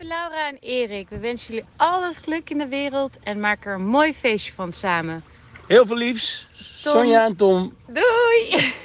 Laura en Erik. We wensen jullie al het geluk in de wereld en maak er een mooi feestje van samen. Heel veel liefs. Tom. Sonja en Tom. Doei!